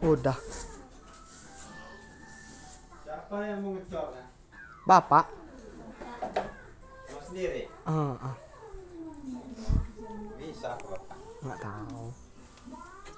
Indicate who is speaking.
Speaker 1: Udah.
Speaker 2: Siapa yang eh? mau ngecornya?
Speaker 1: Bapak. Eh,
Speaker 2: Lo sendiri?
Speaker 1: Heeh.
Speaker 2: Bisa kok bapak.
Speaker 1: nggak tahu.